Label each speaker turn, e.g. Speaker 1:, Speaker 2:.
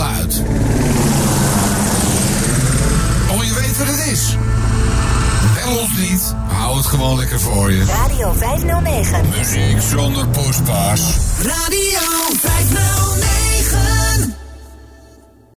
Speaker 1: uit. Oh, je weet wat het is. Bel ons niet. Hou het gewoon lekker voor je.
Speaker 2: Radio 509.
Speaker 1: Muziek zonder poespas.
Speaker 3: Radio 509.